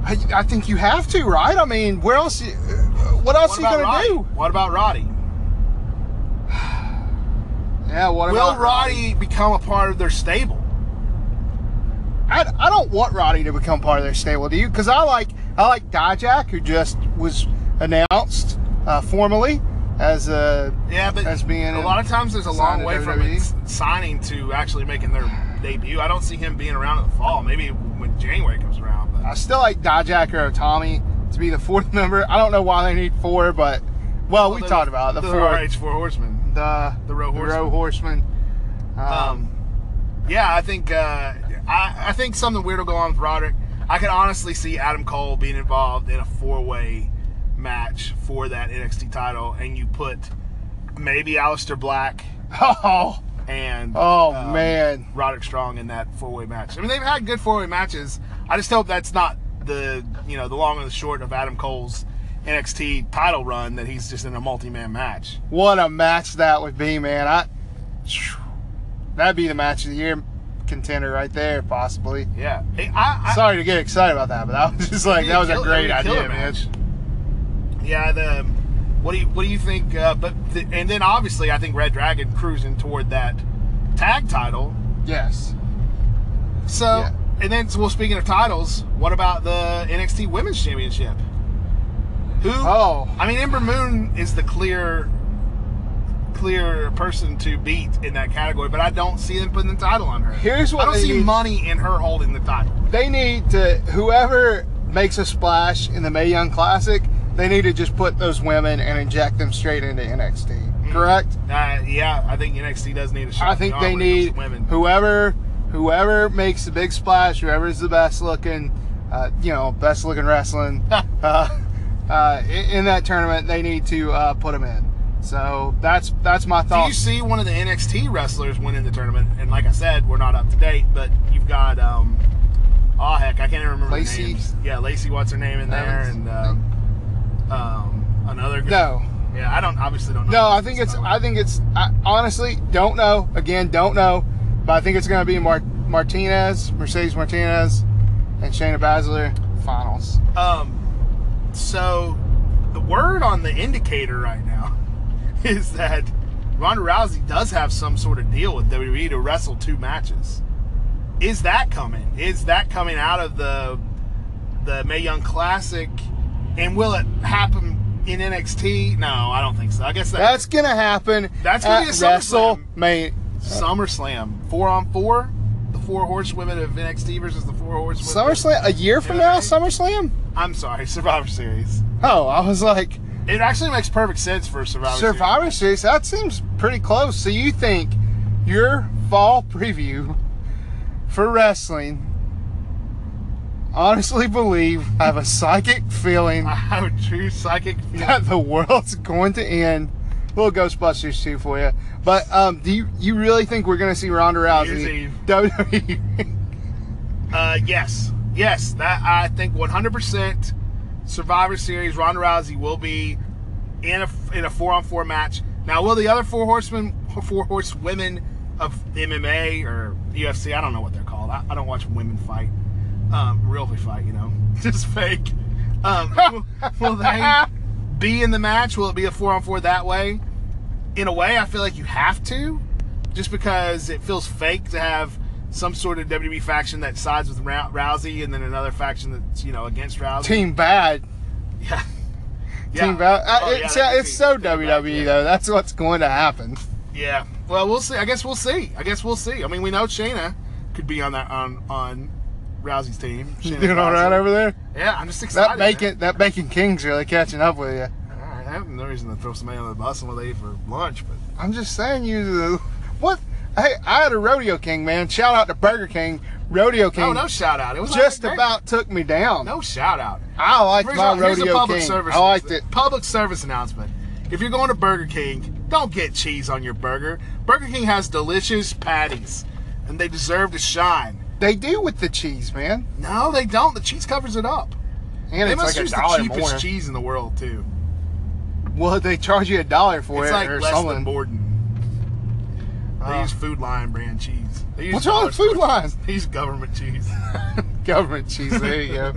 Speaker 1: I, I think you have to, right? I mean, where else? You, uh, what else you
Speaker 2: about
Speaker 1: gonna
Speaker 2: Roddy?
Speaker 1: do?
Speaker 2: What about Roddy?
Speaker 1: Yeah. What
Speaker 2: Will
Speaker 1: about Roddy?
Speaker 2: Roddy become a part of their stable?
Speaker 1: I, I don't want Roddy to become part of their stable, do you? Because I like I like Dijak, who just was announced uh, formally as a
Speaker 2: Yeah, but
Speaker 1: As being
Speaker 2: a lot of times there's a
Speaker 1: signed
Speaker 2: long
Speaker 1: to E?
Speaker 2: way from
Speaker 1: WWE.
Speaker 2: s- signing to actually making their debut. I don't see him being around in the fall. Maybe when January comes around. But
Speaker 1: I still like Dijak or Tommy to be the fourth <laughs> member. I don't know why they need four, but well, we
Speaker 2: Well,
Speaker 1: talked about it, the
Speaker 2: the
Speaker 1: four,
Speaker 2: RH Four Horsemen.
Speaker 1: the
Speaker 2: the row horsemen.
Speaker 1: horsemen. Um,
Speaker 2: Um, yeah, I think uh, I, I think something weird will go on with Roderick. I could honestly see Adam Cole being involved in a four-way match for that NXT title, and you put maybe Aleister Black
Speaker 1: <laughs> oh,
Speaker 2: and
Speaker 1: oh
Speaker 2: um,
Speaker 1: man,
Speaker 2: Roderick Strong in that four-way match. I mean, they've had good four-way matches. I just hope that's not the you know the long and the short of Adam Cole's NXT title run that he's just in a multi-man match.
Speaker 1: what a match that would be, man! I that'd be the match of the year contender right there, possibly.
Speaker 2: Yeah, I, I,
Speaker 1: Sorry to get excited about that, but that was just like
Speaker 2: It'd be
Speaker 1: that was a
Speaker 2: killer-
Speaker 1: great
Speaker 2: it'd be a
Speaker 1: idea,
Speaker 2: killer
Speaker 1: man.
Speaker 2: match. Yeah, the um, what do you what do you think? Uh, but the, and then obviously, I think Red Dragon cruising toward that tag title.
Speaker 1: Yes.
Speaker 2: So
Speaker 1: Yeah.
Speaker 2: and then well, speaking of titles, what about the NXT Women's Championship? Who?
Speaker 1: Oh.
Speaker 2: I mean, Ember Moon is the clear clear person to beat in that category, but I don't see them putting the title on her.
Speaker 1: Here's what
Speaker 2: I don't
Speaker 1: they
Speaker 2: see
Speaker 1: need.
Speaker 2: money in her holding the title.
Speaker 1: They need to whoever makes a splash in the Mae Young Classic, they need to just put those women and inject them straight into NXT. correct?
Speaker 2: Uh, yeah, I think NXT does need a shot.
Speaker 1: I
Speaker 2: in
Speaker 1: think
Speaker 2: the
Speaker 1: they
Speaker 2: arm when it comes
Speaker 1: need
Speaker 2: to women.
Speaker 1: whoever whoever makes the big splash, whoever's the best looking, uh, you know, best looking
Speaker 2: <laughs>
Speaker 1: wrestling uh, uh, in, in that tournament. They need to uh, put them in. So that's that's my
Speaker 2: Do
Speaker 1: thought.
Speaker 2: you see one of the NXT wrestlers winning the tournament? And like I said, we're not up to date, but you've got um, oh heck, I can't even remember
Speaker 1: Lacey?
Speaker 2: the names. Yeah, Lacey, what's her name in there,
Speaker 1: Evans?
Speaker 2: and um, um, another girl.
Speaker 1: no,
Speaker 2: Yeah, I don't obviously don't know.
Speaker 1: no. I think it's I think it's I honestly don't know. Again, don't know. But I think it's going to be Mar- Martinez, Mercedes Martinez, and Shayna Baszler finals.
Speaker 2: Um, so the word on the indicator right now <laughs> is that Ronda Rousey does have some sort of deal with WWE to wrestle two matches. Is that coming? Is that coming out of the the May Young Classic? And will it happen in NXT? No, I don't think so. I guess that,
Speaker 1: That's going to happen.
Speaker 2: That's gonna
Speaker 1: at
Speaker 2: be a SummerSlam.
Speaker 1: WrestleMania.
Speaker 2: SummerSlam four on four, the four horsewomen of NXT versus the four horsewomen.
Speaker 1: SummerSlam a year from now. SummerSlam.
Speaker 2: I'm sorry, <laughs> Survivor Series.
Speaker 1: Oh, I was like
Speaker 2: It actually makes perfect sense for Survivor. Series.
Speaker 1: Survivor Series. That seems pretty close. So you think your fall preview for wrestling? Honestly, believe I have a psychic feeling
Speaker 2: I have a <laughs> true psychic feeling.
Speaker 1: that the world's going to end. Little Ghostbusters too for you. But um, do you, you really think we're going to see Ronda
Speaker 2: Year's
Speaker 1: Rousey? E?
Speaker 2: Eve.
Speaker 1: WWE.
Speaker 2: Uh, yes, yes, that I think 100% Survivor Series Ronda Rousey will be in a in a four on four match. Now, will the other four horsemen, four horsewomen of MMA or UFC? I don't know what they're called. I, I don't watch women fight, um, real fight. You know, <laughs> just fake. Um, will- will they be in the match? Will it be a four on four that way? in a way, I feel like you have to, just because it feels fake to have some sort of WWE faction that sides with Rou- Rousey and then another faction that's you know against
Speaker 1: <laughs>
Speaker 2: Rousey.
Speaker 1: Team Bad.
Speaker 2: Yeah.
Speaker 1: Team Bad. Uh,
Speaker 2: Oh, yeah,
Speaker 1: it's
Speaker 2: that could
Speaker 1: it's
Speaker 2: be
Speaker 1: so E,
Speaker 2: Team Bad,
Speaker 1: WWE
Speaker 2: yeah.
Speaker 1: though. That's what's going to happen.
Speaker 2: Yeah. Well, we'll see. I guess we'll see. I guess we'll see. I mean, we know Shayna could be on that on on Rousey's
Speaker 1: <laughs>
Speaker 2: team.
Speaker 1: You
Speaker 2: Shayna
Speaker 1: doing all right
Speaker 2: Baszler.
Speaker 1: over there?
Speaker 2: Yeah, I'm just excited.
Speaker 1: That
Speaker 2: man.
Speaker 1: bacon, that bacon king's really catching up with you.
Speaker 2: All right, I have no reason to throw somebody on the bus and what they eat for lunch, but
Speaker 1: I'm just saying, you. <laughs> What? Hey, I had a rodeo king, man. Shout out to Burger King. Rodeo King
Speaker 2: no, Oh, no shout out. It was
Speaker 1: just
Speaker 2: not that great.
Speaker 1: about took me down.
Speaker 2: no shout out.
Speaker 1: I liked
Speaker 2: Here's
Speaker 1: my
Speaker 2: a- here's a
Speaker 1: rodeo
Speaker 2: public
Speaker 1: king.
Speaker 2: service
Speaker 1: I liked it.
Speaker 2: announcement. Public service announcement. If you're going to Burger King, don't get cheese on your burger. Burger King has delicious patties, and they deserve to shine.
Speaker 1: They do with the cheese, man.
Speaker 2: No, they don't. The cheese covers it up.
Speaker 1: And
Speaker 2: they
Speaker 1: it's
Speaker 2: must
Speaker 1: like a
Speaker 2: use
Speaker 1: dollar
Speaker 2: the cheapest
Speaker 1: more.
Speaker 2: cheese in the world too.
Speaker 1: Well, they charge you a dollar for
Speaker 2: It's
Speaker 1: it
Speaker 2: like
Speaker 1: or
Speaker 2: less than
Speaker 1: something.
Speaker 2: Borden. They
Speaker 1: Oh.
Speaker 2: use Food Lion brand cheese. They use
Speaker 1: What's wrong with
Speaker 2: dollar
Speaker 1: food
Speaker 2: store
Speaker 1: lines?
Speaker 2: cheese. <laughs> They use government
Speaker 1: <laughs>
Speaker 2: cheese.
Speaker 1: government cheese. There you go.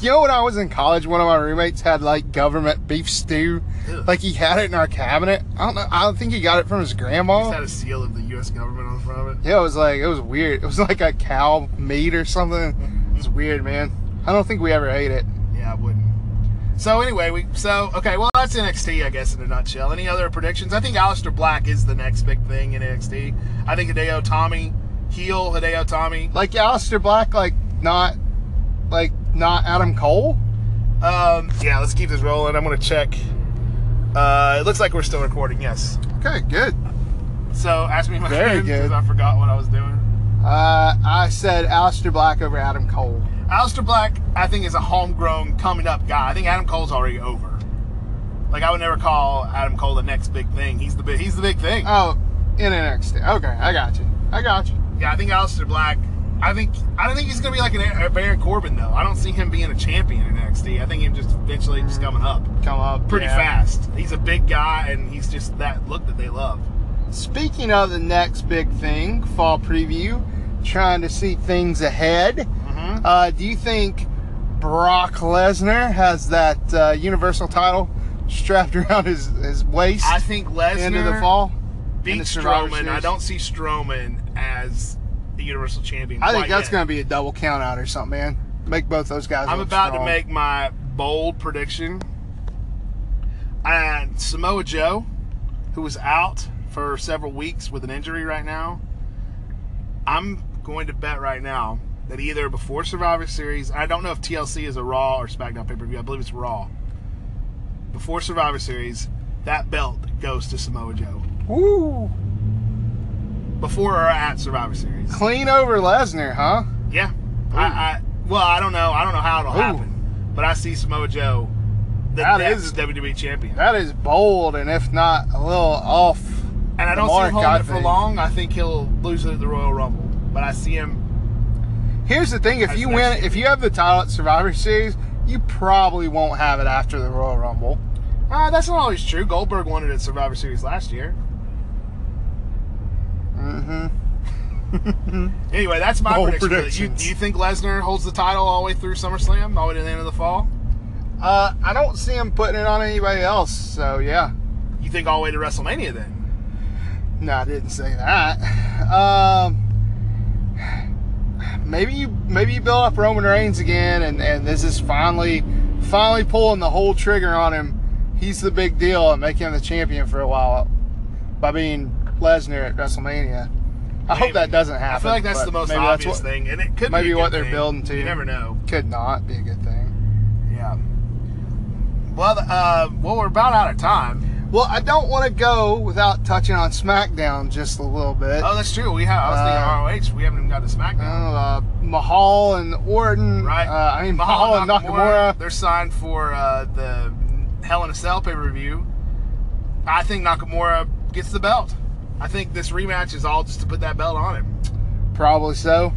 Speaker 1: You know, when I was in college, one of my roommates had like government beef stew.
Speaker 2: Ugh.
Speaker 1: Like he had it in our cabinet. I don't know. I don't think he got it from his grandma.
Speaker 2: It's had a seal of the U.S. government on the front of it.
Speaker 1: Yeah, it was like it was weird. It was <laughs> like a cow meat or something. It's weird, man. I don't think we ever ate it.
Speaker 2: Yeah, I wouldn't. So anyway, we so okay. Well, that's NXT, I guess, in a nutshell. Any other predictions? I think Aleister Black is the next big thing in NXT. I think Hideo Tommy, heel Hideo Tommy.
Speaker 1: Like Aleister Black, like not, like not Adam Cole.
Speaker 2: Um, yeah, let's keep this rolling. I'm gonna check. Uh, it looks like we're still recording. Yes.
Speaker 1: Okay, good.
Speaker 2: So ask me my
Speaker 1: Very good.
Speaker 2: because I forgot what I was doing.
Speaker 1: Uh, I said Aleister Black over Adam Cole.
Speaker 2: Aleister Black, I think, is a homegrown coming up guy. I think Adam Cole's already over. Like I would never call Adam Cole the next big thing. He's the big. He's the big thing.
Speaker 1: Oh, in NXT. Okay, I got you. I got you.
Speaker 2: Yeah, I think Aleister Black. I think I don't think he's gonna be like an a Baron Corbin though. I don't see him being a champion in NXT. I think him just eventually just coming up
Speaker 1: Come up
Speaker 2: pretty
Speaker 1: Mm-hmm. yeah.
Speaker 2: fast. He's a big guy and he's just that look that they love.
Speaker 1: Speaking of the next big thing, fall preview, trying to see things ahead.
Speaker 2: Mm-hmm.
Speaker 1: Uh, do you think Brock Lesnar has that uh, Universal title strapped <laughs> around his, his waist
Speaker 2: I think
Speaker 1: into the
Speaker 2: Lesnar
Speaker 1: fall? in the
Speaker 2: beats
Speaker 1: Survivor
Speaker 2: Strowman. I
Speaker 1: Series?
Speaker 2: don't see Strowman as the Universal Champion.
Speaker 1: I think
Speaker 2: quite
Speaker 1: that's
Speaker 2: yet.
Speaker 1: going to be a double count out or something, man. Make both those guys.
Speaker 2: I'm
Speaker 1: look
Speaker 2: about
Speaker 1: strong.
Speaker 2: to make my bold prediction. And Samoa Joe, who was out for several weeks with an injury right now, I'm going to bet right now that either before Survivor Series, I don't know if TLC is a Raw or SmackDown pay per view. I believe it's Raw. Before Survivor Series, That belt goes to Samoa Joe
Speaker 1: Woo!
Speaker 2: before or at Survivor Series.
Speaker 1: Clean over Lesnar, huh?
Speaker 2: Yeah. I, I well, I don't know. I don't know how it'll
Speaker 1: Ooh.
Speaker 2: happen, but I see Samoa Joe, the
Speaker 1: That
Speaker 2: next
Speaker 1: is-
Speaker 2: WWE E champion,
Speaker 1: That is bold, and if not a little off.
Speaker 2: and I
Speaker 1: the
Speaker 2: don't see
Speaker 1: mark,
Speaker 2: him holding
Speaker 1: I
Speaker 2: it for
Speaker 1: think.
Speaker 2: long. I think he'll lose it at the Royal Rumble, but I see him.
Speaker 1: Here's the thing: if
Speaker 2: That's
Speaker 1: you
Speaker 2: next
Speaker 1: win,
Speaker 2: year.
Speaker 1: if you have the title at Survivor Series, you probably won't have it after the Royal Rumble.
Speaker 2: Ah, that's not always true. Goldberg won it at Survivor Series last year.
Speaker 1: Mm-hmm.
Speaker 2: Anyway, that's my
Speaker 1: Bold
Speaker 2: prediction. You,
Speaker 1: predictions.
Speaker 2: do you think Lesnar holds the title all the way through SummerSlam, all the way to the end of the fall?
Speaker 1: Uh, I don't see him putting it on anybody else. So yeah,
Speaker 2: You think all the way to WrestleMania then?
Speaker 1: no, I didn't say that. <laughs> Um, maybe you maybe you build up Roman Reigns again, and and this is finally finally pulling the whole trigger on him. He's the big deal and making him the champion for a while by being Lesnar at WrestleMania. I hope
Speaker 2: Maybe.
Speaker 1: that doesn't happen.
Speaker 2: I feel like that's
Speaker 1: but
Speaker 2: the most
Speaker 1: maybe that's
Speaker 2: obvious
Speaker 1: what-
Speaker 2: thing, and it could
Speaker 1: maybe
Speaker 2: be a
Speaker 1: what
Speaker 2: good
Speaker 1: they're
Speaker 2: thing.
Speaker 1: building to.
Speaker 2: You never know.
Speaker 1: Could not be a good thing.
Speaker 2: Yeah. Well, uh, well, we're about out of time.
Speaker 1: Well, I don't want to go without touching on SmackDown just a little bit.
Speaker 2: Oh, that's true. We have. I
Speaker 1: Uh,
Speaker 2: was thinking ROH. We haven't even got to
Speaker 1: I
Speaker 2: SmackDown.
Speaker 1: don't know, uh, Mahal and Orton.
Speaker 2: right.
Speaker 1: Uh, I mean, Mahal, and Nakamura.
Speaker 2: They're signed for uh, the Hell in a Cell pay per view. I think Nakamura gets the belt. I think this rematch is all just to put that belt on him.
Speaker 1: Probably so.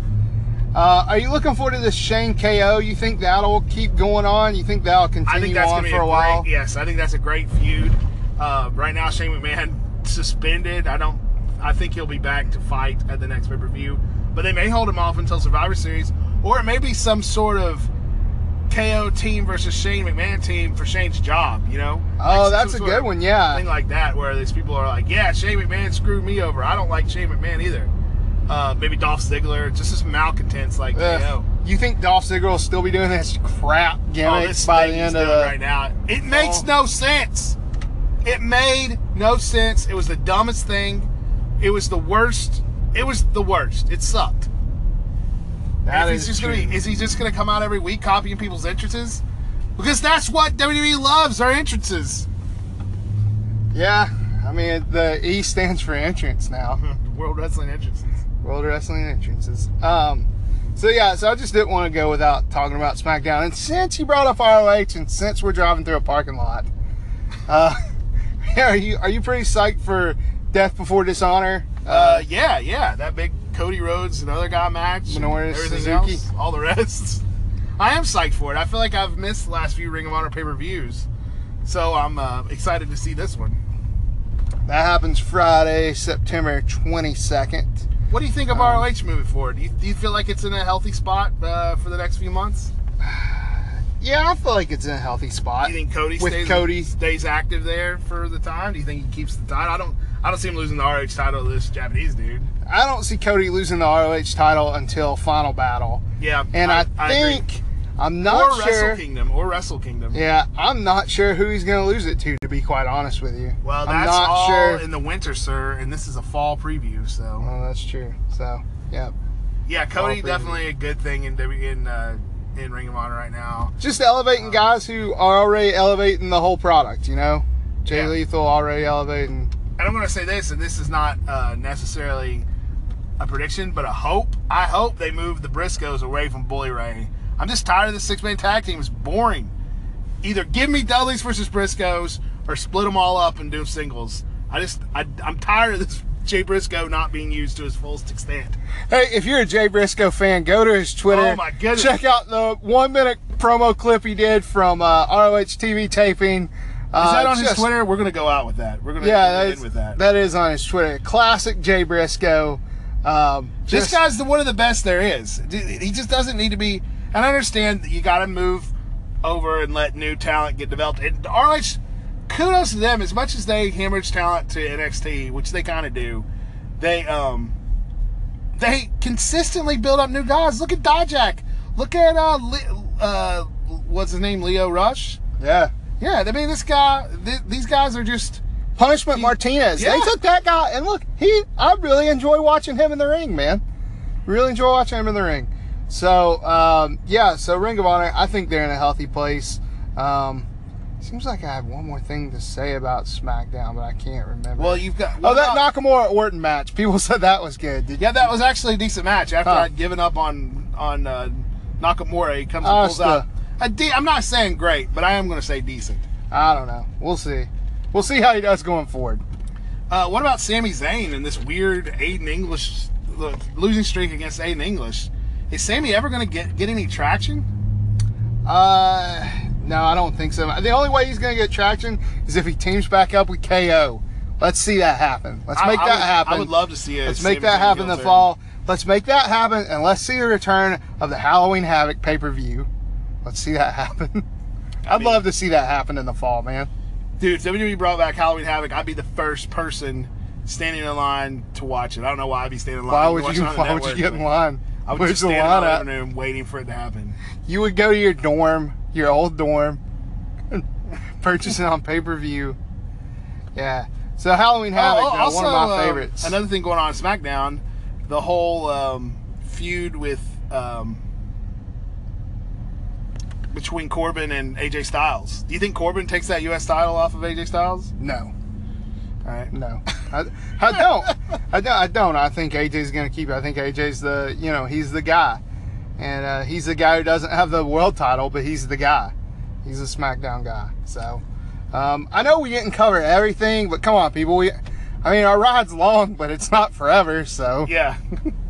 Speaker 1: Uh, are you looking forward to this Shane KO? You think that'll keep going on? You think that'll continue
Speaker 2: I think that's
Speaker 1: on
Speaker 2: going to be
Speaker 1: for
Speaker 2: a,
Speaker 1: a, while?
Speaker 2: Great, yes, I think that's a great feud. Uh, right now, Shane McMahon suspended. I don't. I think he'll be back to fight at the next pay per view, but they may hold him off until Survivor Series, or it may be some sort of KO team versus Shane McMahon team for Shane's job. You know?
Speaker 1: Oh,
Speaker 2: Like
Speaker 1: that's
Speaker 2: some
Speaker 1: a
Speaker 2: sort
Speaker 1: good
Speaker 2: of
Speaker 1: one, yeah.
Speaker 2: Thing like that where these people are like, "Yeah, Shane McMahon screwed me over. I don't like Shane McMahon either." Uh, maybe Dolph Ziggler, just as malcontents like
Speaker 1: Ugh.
Speaker 2: KO.
Speaker 1: You think Dolph Ziggler will still be doing this crap
Speaker 2: Oh,
Speaker 1: gimmick
Speaker 2: this
Speaker 1: by the
Speaker 2: thing he's
Speaker 1: end of
Speaker 2: doing
Speaker 1: the?
Speaker 2: right now. It makes
Speaker 1: Oh.
Speaker 2: no sense. It made no sense. It was the dumbest thing. It was the worst. It was the worst. It sucked.
Speaker 1: That
Speaker 2: And
Speaker 1: is
Speaker 2: he's just
Speaker 1: true.
Speaker 2: gonna be, is he just gonna come out every week copying people's entrances? Because that's what WWE loves, our entrances.
Speaker 1: Yeah, I mean the E stands for entrance now.
Speaker 2: World Wrestling entrances.
Speaker 1: World Wrestling entrances. Um, so yeah, so I just didn't want to go without talking about SmackDown. And since you brought up ROH, and since we're driving through a parking lot, uh, <laughs> are you are you pretty psyched for Death Before Dishonor?
Speaker 2: Uh, yeah, yeah. That big Cody Rhodes and other guy match. and
Speaker 1: Minoru
Speaker 2: everything
Speaker 1: Suzuki.
Speaker 2: else, all the rest. <laughs> I am psyched for it. I feel like I've missed the last few Ring of Honor pay per views. So I'm uh, excited to see this one.
Speaker 1: that happens Friday, September twenty second.
Speaker 2: What do you think of
Speaker 1: Um,
Speaker 2: ROH moving forward? Do you, do you feel like it's in a healthy spot uh, for the next few months?
Speaker 1: Yeah, I feel like it's in a healthy spot.
Speaker 2: Do you think Cody
Speaker 1: with
Speaker 2: stays
Speaker 1: Cody?
Speaker 2: stays active there for the time? Do you think he keeps the title? I don't. I don't see him losing the ROH title to this Japanese dude.
Speaker 1: I don't see Cody losing the ROH title until Final Battle,
Speaker 2: Yeah,
Speaker 1: and I,
Speaker 2: agree.
Speaker 1: think I'm
Speaker 2: or
Speaker 1: not sure.
Speaker 2: Wrestle Kingdom or Wrestle Kingdom.
Speaker 1: Yeah, I'm not sure who he's going to lose it to, to be quite honest with you.
Speaker 2: Well,
Speaker 1: I'm
Speaker 2: that's
Speaker 1: not
Speaker 2: all
Speaker 1: sure.
Speaker 2: in the winter, sir, and this is a fall preview. So
Speaker 1: well, that's true. So, yeah.
Speaker 2: yeah,
Speaker 1: Fall
Speaker 2: Cody
Speaker 1: preview.
Speaker 2: definitely a good thing in W- in uh, in Ring of Honor right now.
Speaker 1: Just elevating guys who are already elevating the whole product, you know? Jay
Speaker 2: Yeah.
Speaker 1: Lethal already elevating.
Speaker 2: and I'm going to say this, and this is not uh, necessarily a prediction, but a hope. I hope they move the Briscoes away from Bully Ray. I'm just tired of the six man tag team. It's boring. Either give me Dudley's versus Briscoes, or split them all up and do singles. I just, I, I'm tired of this <laughs> Jay Briscoe not being used to his fullest extent.
Speaker 1: Hey, if you're a Jay Briscoe fan, go to his Twitter.
Speaker 2: Oh, my goodness.
Speaker 1: Check out the one minute promo clip he did from uh, ROH TV taping. Uh,
Speaker 2: Is that on his Twitter? We're going to go out with that. We're going to
Speaker 1: Yeah, that
Speaker 2: end
Speaker 1: is,
Speaker 2: with that.
Speaker 1: that is on his Twitter. Classic Jay Briscoe. Um,
Speaker 2: This
Speaker 1: just-
Speaker 2: guy's the one of the best there is. D- He just doesn't need to be. And I understand that you got to move over and let new talent get developed. And ROH, kudos to them. As much as they hemorrhage talent to NXT, which they kind of do, they um they consistently build up new guys. Look at Dijak. Look at uh, Le- uh what's his name? Leo Rush.
Speaker 1: Yeah.
Speaker 2: Yeah, I mean this guy. Th- these guys are just.
Speaker 1: Punishment Martinez. They
Speaker 2: Yeah.
Speaker 1: took that guy, and look, he. I really enjoy watching him in the ring, man. Really enjoy watching him in the ring. So um, yeah, so Ring of Honor, I think they're in a healthy place. Um, Seems like I have one more thing to say about SmackDown, but I can't remember.
Speaker 2: Well, you've got.
Speaker 1: oh, that
Speaker 2: knock.
Speaker 1: Nakamura Orton match. People <laughs> said that was good. Did
Speaker 2: Yeah, that was actually a decent match. After
Speaker 1: Huh.
Speaker 2: I'd given up on on uh, Nakamura, he comes and
Speaker 1: Oh,
Speaker 2: pulls
Speaker 1: it's the-
Speaker 2: out. A de- I'm not saying great, but I am going to say decent.
Speaker 1: I don't know. We'll see. We'll see how he does going forward.
Speaker 2: Uh, what about Sami Zayn and this weird Aiden English the losing streak against Aiden English? Is Sammy ever going to get get any traction?
Speaker 1: Uh, no, I don't think so. The only way he's going to get traction is if he teams back up with KO. Let's see that happen. Let's
Speaker 2: I-
Speaker 1: make
Speaker 2: I
Speaker 1: that
Speaker 2: would-
Speaker 1: happen.
Speaker 2: I would love to see it.
Speaker 1: Let's make that happen the fall. Let's make that happen, and let's see the return of the Halloween Havoc pay per view. Let's see that happen. I'd
Speaker 2: mean-
Speaker 1: love to see that happen in the fall, man.
Speaker 2: Dude, if WWE brought back Halloween Havoc, I'd be the first person standing in line to watch it. I don't know why I'd be standing in line.
Speaker 1: Why
Speaker 2: I'd be
Speaker 1: would
Speaker 2: watching
Speaker 1: you?
Speaker 2: it on the
Speaker 1: Why would you
Speaker 2: network,
Speaker 1: get in
Speaker 2: but
Speaker 1: line?
Speaker 2: I would
Speaker 1: Where's
Speaker 2: just
Speaker 1: the
Speaker 2: stand
Speaker 1: line
Speaker 2: in
Speaker 1: at?
Speaker 2: the living room waiting for it to happen.
Speaker 1: You would go to your dorm, your old dorm, <laughs> purchase it on pay per view. Yeah. So Halloween Havoc,
Speaker 2: Oh,
Speaker 1: now, one of my
Speaker 2: um,
Speaker 1: favorites.
Speaker 2: another thing going on in SmackDown, the whole um, feud with um, between Corbin and AJ Styles. Do you think Corbin takes that U.S. title off of AJ Styles?
Speaker 1: no,
Speaker 2: All right.
Speaker 1: no, I, I don't. I don't. I don't. I think AJ's going to keep it. I think AJ's the, you know, he's the guy, and uh, he's the guy who doesn't have the world title, but he's the guy. He's a SmackDown guy. So um, I know we didn't cover everything, but come on, people. We, I mean, our ride's long, but it's not forever. So
Speaker 2: Yeah,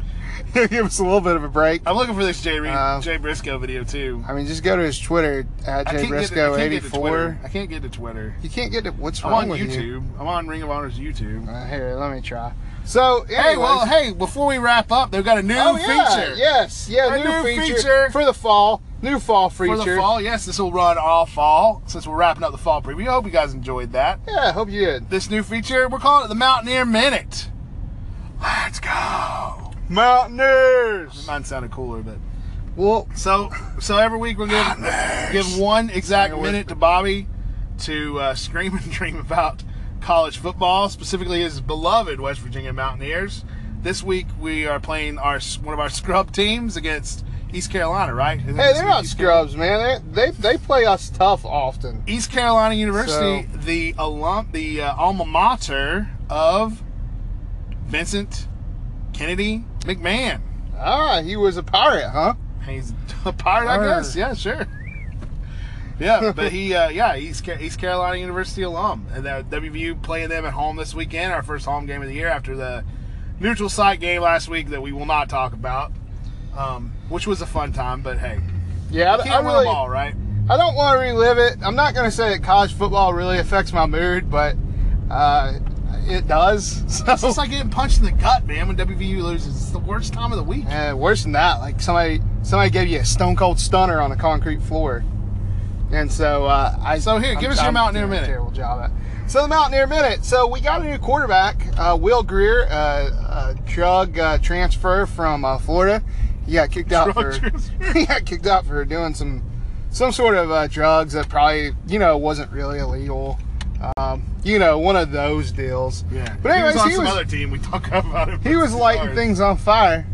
Speaker 1: <laughs> give us a little bit of a break.
Speaker 2: <laughs> I'm looking for this Jay, Reed,
Speaker 1: Uh,
Speaker 2: Jay Briscoe video too.
Speaker 1: I mean, just go to his Twitter at
Speaker 2: I can't get to- I can't get to Twitter.
Speaker 1: jbriscoe84.
Speaker 2: I can't get to Twitter.
Speaker 1: You can't get to what's
Speaker 2: I'm
Speaker 1: wrong
Speaker 2: on
Speaker 1: with
Speaker 2: YouTube.
Speaker 1: you?
Speaker 2: I'm on Ring of Honor's YouTube.
Speaker 1: Uh, here, let me try. So,
Speaker 2: Hey, well,
Speaker 1: anyways-
Speaker 2: hey, before we wrap up, they've got a new
Speaker 1: oh, yeah,
Speaker 2: feature.
Speaker 1: Yes, yeah,
Speaker 2: A
Speaker 1: new,
Speaker 2: new
Speaker 1: feature,
Speaker 2: feature.
Speaker 1: for the fall. New fall feature.
Speaker 2: For the fall, yes, this will run all fall since we're wrapping up the fall preview. I hope you guys enjoyed that.
Speaker 1: Yeah, I hope you did.
Speaker 2: This new feature, we're calling it the Mountaineer Minute. Let's go.
Speaker 1: Mountaineers.
Speaker 2: Mine sounded cooler, but
Speaker 1: Well,
Speaker 2: so so every week we're gonna give one exact minute to Bobby to uh, scream and <laughs> dream about college football, specifically his beloved West Virginia Mountaineers. This week we are playing our one of our scrub teams against East Carolina, right? Isn't
Speaker 1: hey,
Speaker 2: this
Speaker 1: they're
Speaker 2: week
Speaker 1: not
Speaker 2: East Carolina?
Speaker 1: scrubs, man. They, they they play us tough often.
Speaker 2: East Carolina University, the alum, the uh, alma mater of Vincent Kennedy McMahon.
Speaker 1: Ah, he was a pirate, huh?
Speaker 2: He's <laughs> a pirate, I
Speaker 1: Arr.
Speaker 2: guess. Yeah, sure. Yeah, but he, uh, yeah, East, Ca- East Carolina University alum, and uh, WVU playing them at home this weekend. Our first home game of the year after the neutral site game last week that we will not talk about, um, which was a fun time. But hey,
Speaker 1: Yeah, I,
Speaker 2: can't
Speaker 1: I
Speaker 2: win
Speaker 1: really
Speaker 2: them
Speaker 1: <laughs>
Speaker 2: all, right?
Speaker 1: I don't want to relive it. I'm not going to say that college football really affects my mood, but uh, it does. <laughs> So,
Speaker 2: It's like getting punched in the gut, man. When WVU loses, it's the worst time of the week.
Speaker 1: Eh, worse than that, like somebody somebody gave you a stone cold stunner on a concrete floor, and so uh, I.
Speaker 2: So here, give us your Mountaineer
Speaker 1: doing a
Speaker 2: Minute.
Speaker 1: Terrible job. At. So the Mountaineer minute. So we got a new quarterback, uh, Will Greer, uh, a drug uh, transfer from uh, Florida. He got kicked out
Speaker 2: Drug
Speaker 1: for <laughs>
Speaker 2: transfer.
Speaker 1: he got kicked out for doing some some sort of uh, drugs that probably you know wasn't really illegal. Um, you know, one of those deals.
Speaker 2: Yeah.
Speaker 1: But anyways,
Speaker 2: he was on
Speaker 1: he
Speaker 2: some
Speaker 1: was,
Speaker 2: other team. We talk <laughs> about him.
Speaker 1: he was lighting things on fire.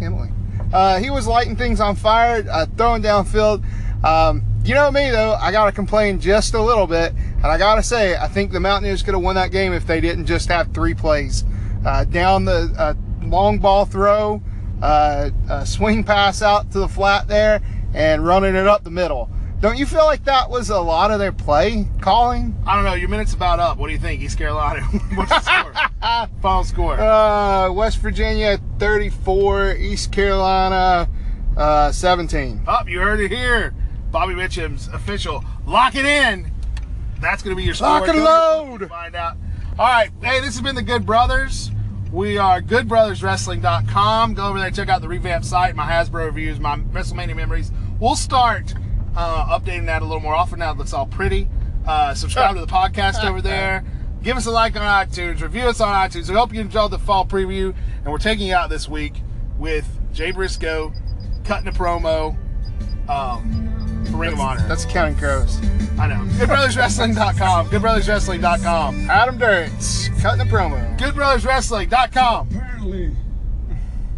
Speaker 1: Emily. Uh, he was lighting things on fire, uh, throwing downfield. Um, you know me though, I gotta complain just a little bit, and I gotta say, I think the Mountaineers could have won that game if they didn't just have three plays: uh, down the uh, long ball throw, uh, a swing pass out to the flat there, and running it up the middle. Don't you feel like that was a lot of their play calling?
Speaker 2: I don't know. Your minute's about up. What do you think, East Carolina? <laughs> What's
Speaker 1: <laughs>
Speaker 2: the score? Final score.
Speaker 1: Uh, West Virginia 34, East Carolina uh, 17.
Speaker 2: Up, you heard it here. Bobby Mitchum's official. Lock it in. That's going to be your score.
Speaker 1: Lock and
Speaker 2: Go to-
Speaker 1: load.
Speaker 2: Find out. All right. Hey, this has been the Good Brothers. We are goodbrotherswrestling.com. Go over there, check out the revamped site, my Hasbro reviews, my WrestleMania memories. We'll start uh, updating that a little more often now that looks all pretty. Uh, subscribe
Speaker 1: <laughs>
Speaker 2: to the podcast over there. Give us a like on iTunes. Review us on iTunes. We hope you enjoyed the fall preview. And we're taking you out this week with Jay Briscoe cutting a promo um, for Ring of Honor.
Speaker 1: That's Counting Crows.
Speaker 2: I know. GoodBrothersWrestling.com. GoodBrothersWrestling.com.
Speaker 1: Adam Duritz, cutting the promo.
Speaker 2: GoodBrothersWrestling.com.
Speaker 3: Apparently,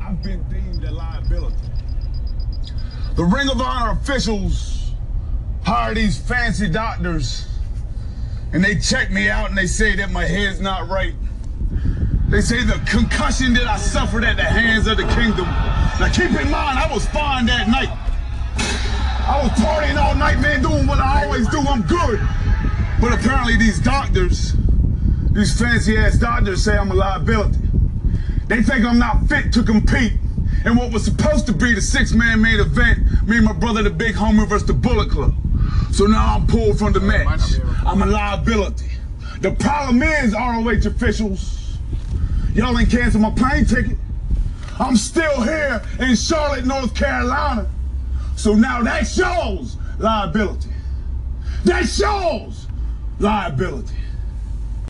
Speaker 3: I've been deemed a liability. The Ring of Honor officials hire these fancy doctors, and they check me out and they say that my head's not right. They say the concussion that I suffered at the hands of the kingdom. Now keep in mind, I was fine that night. I was partying all night, man, doing what I always do. I'm good. But apparently these doctors, these fancy ass doctors say I'm a liability. They think I'm not fit to compete in what was supposed to be the six-man main event, me and my brother, the big homie versus the Bullet Club. So now I'm pulled from the match. I'm a liability. The problem is, ROH officials, y'all ain't cancel my plane ticket. I'm still here in Charlotte, North Carolina. So now that shows liability. That shows liability.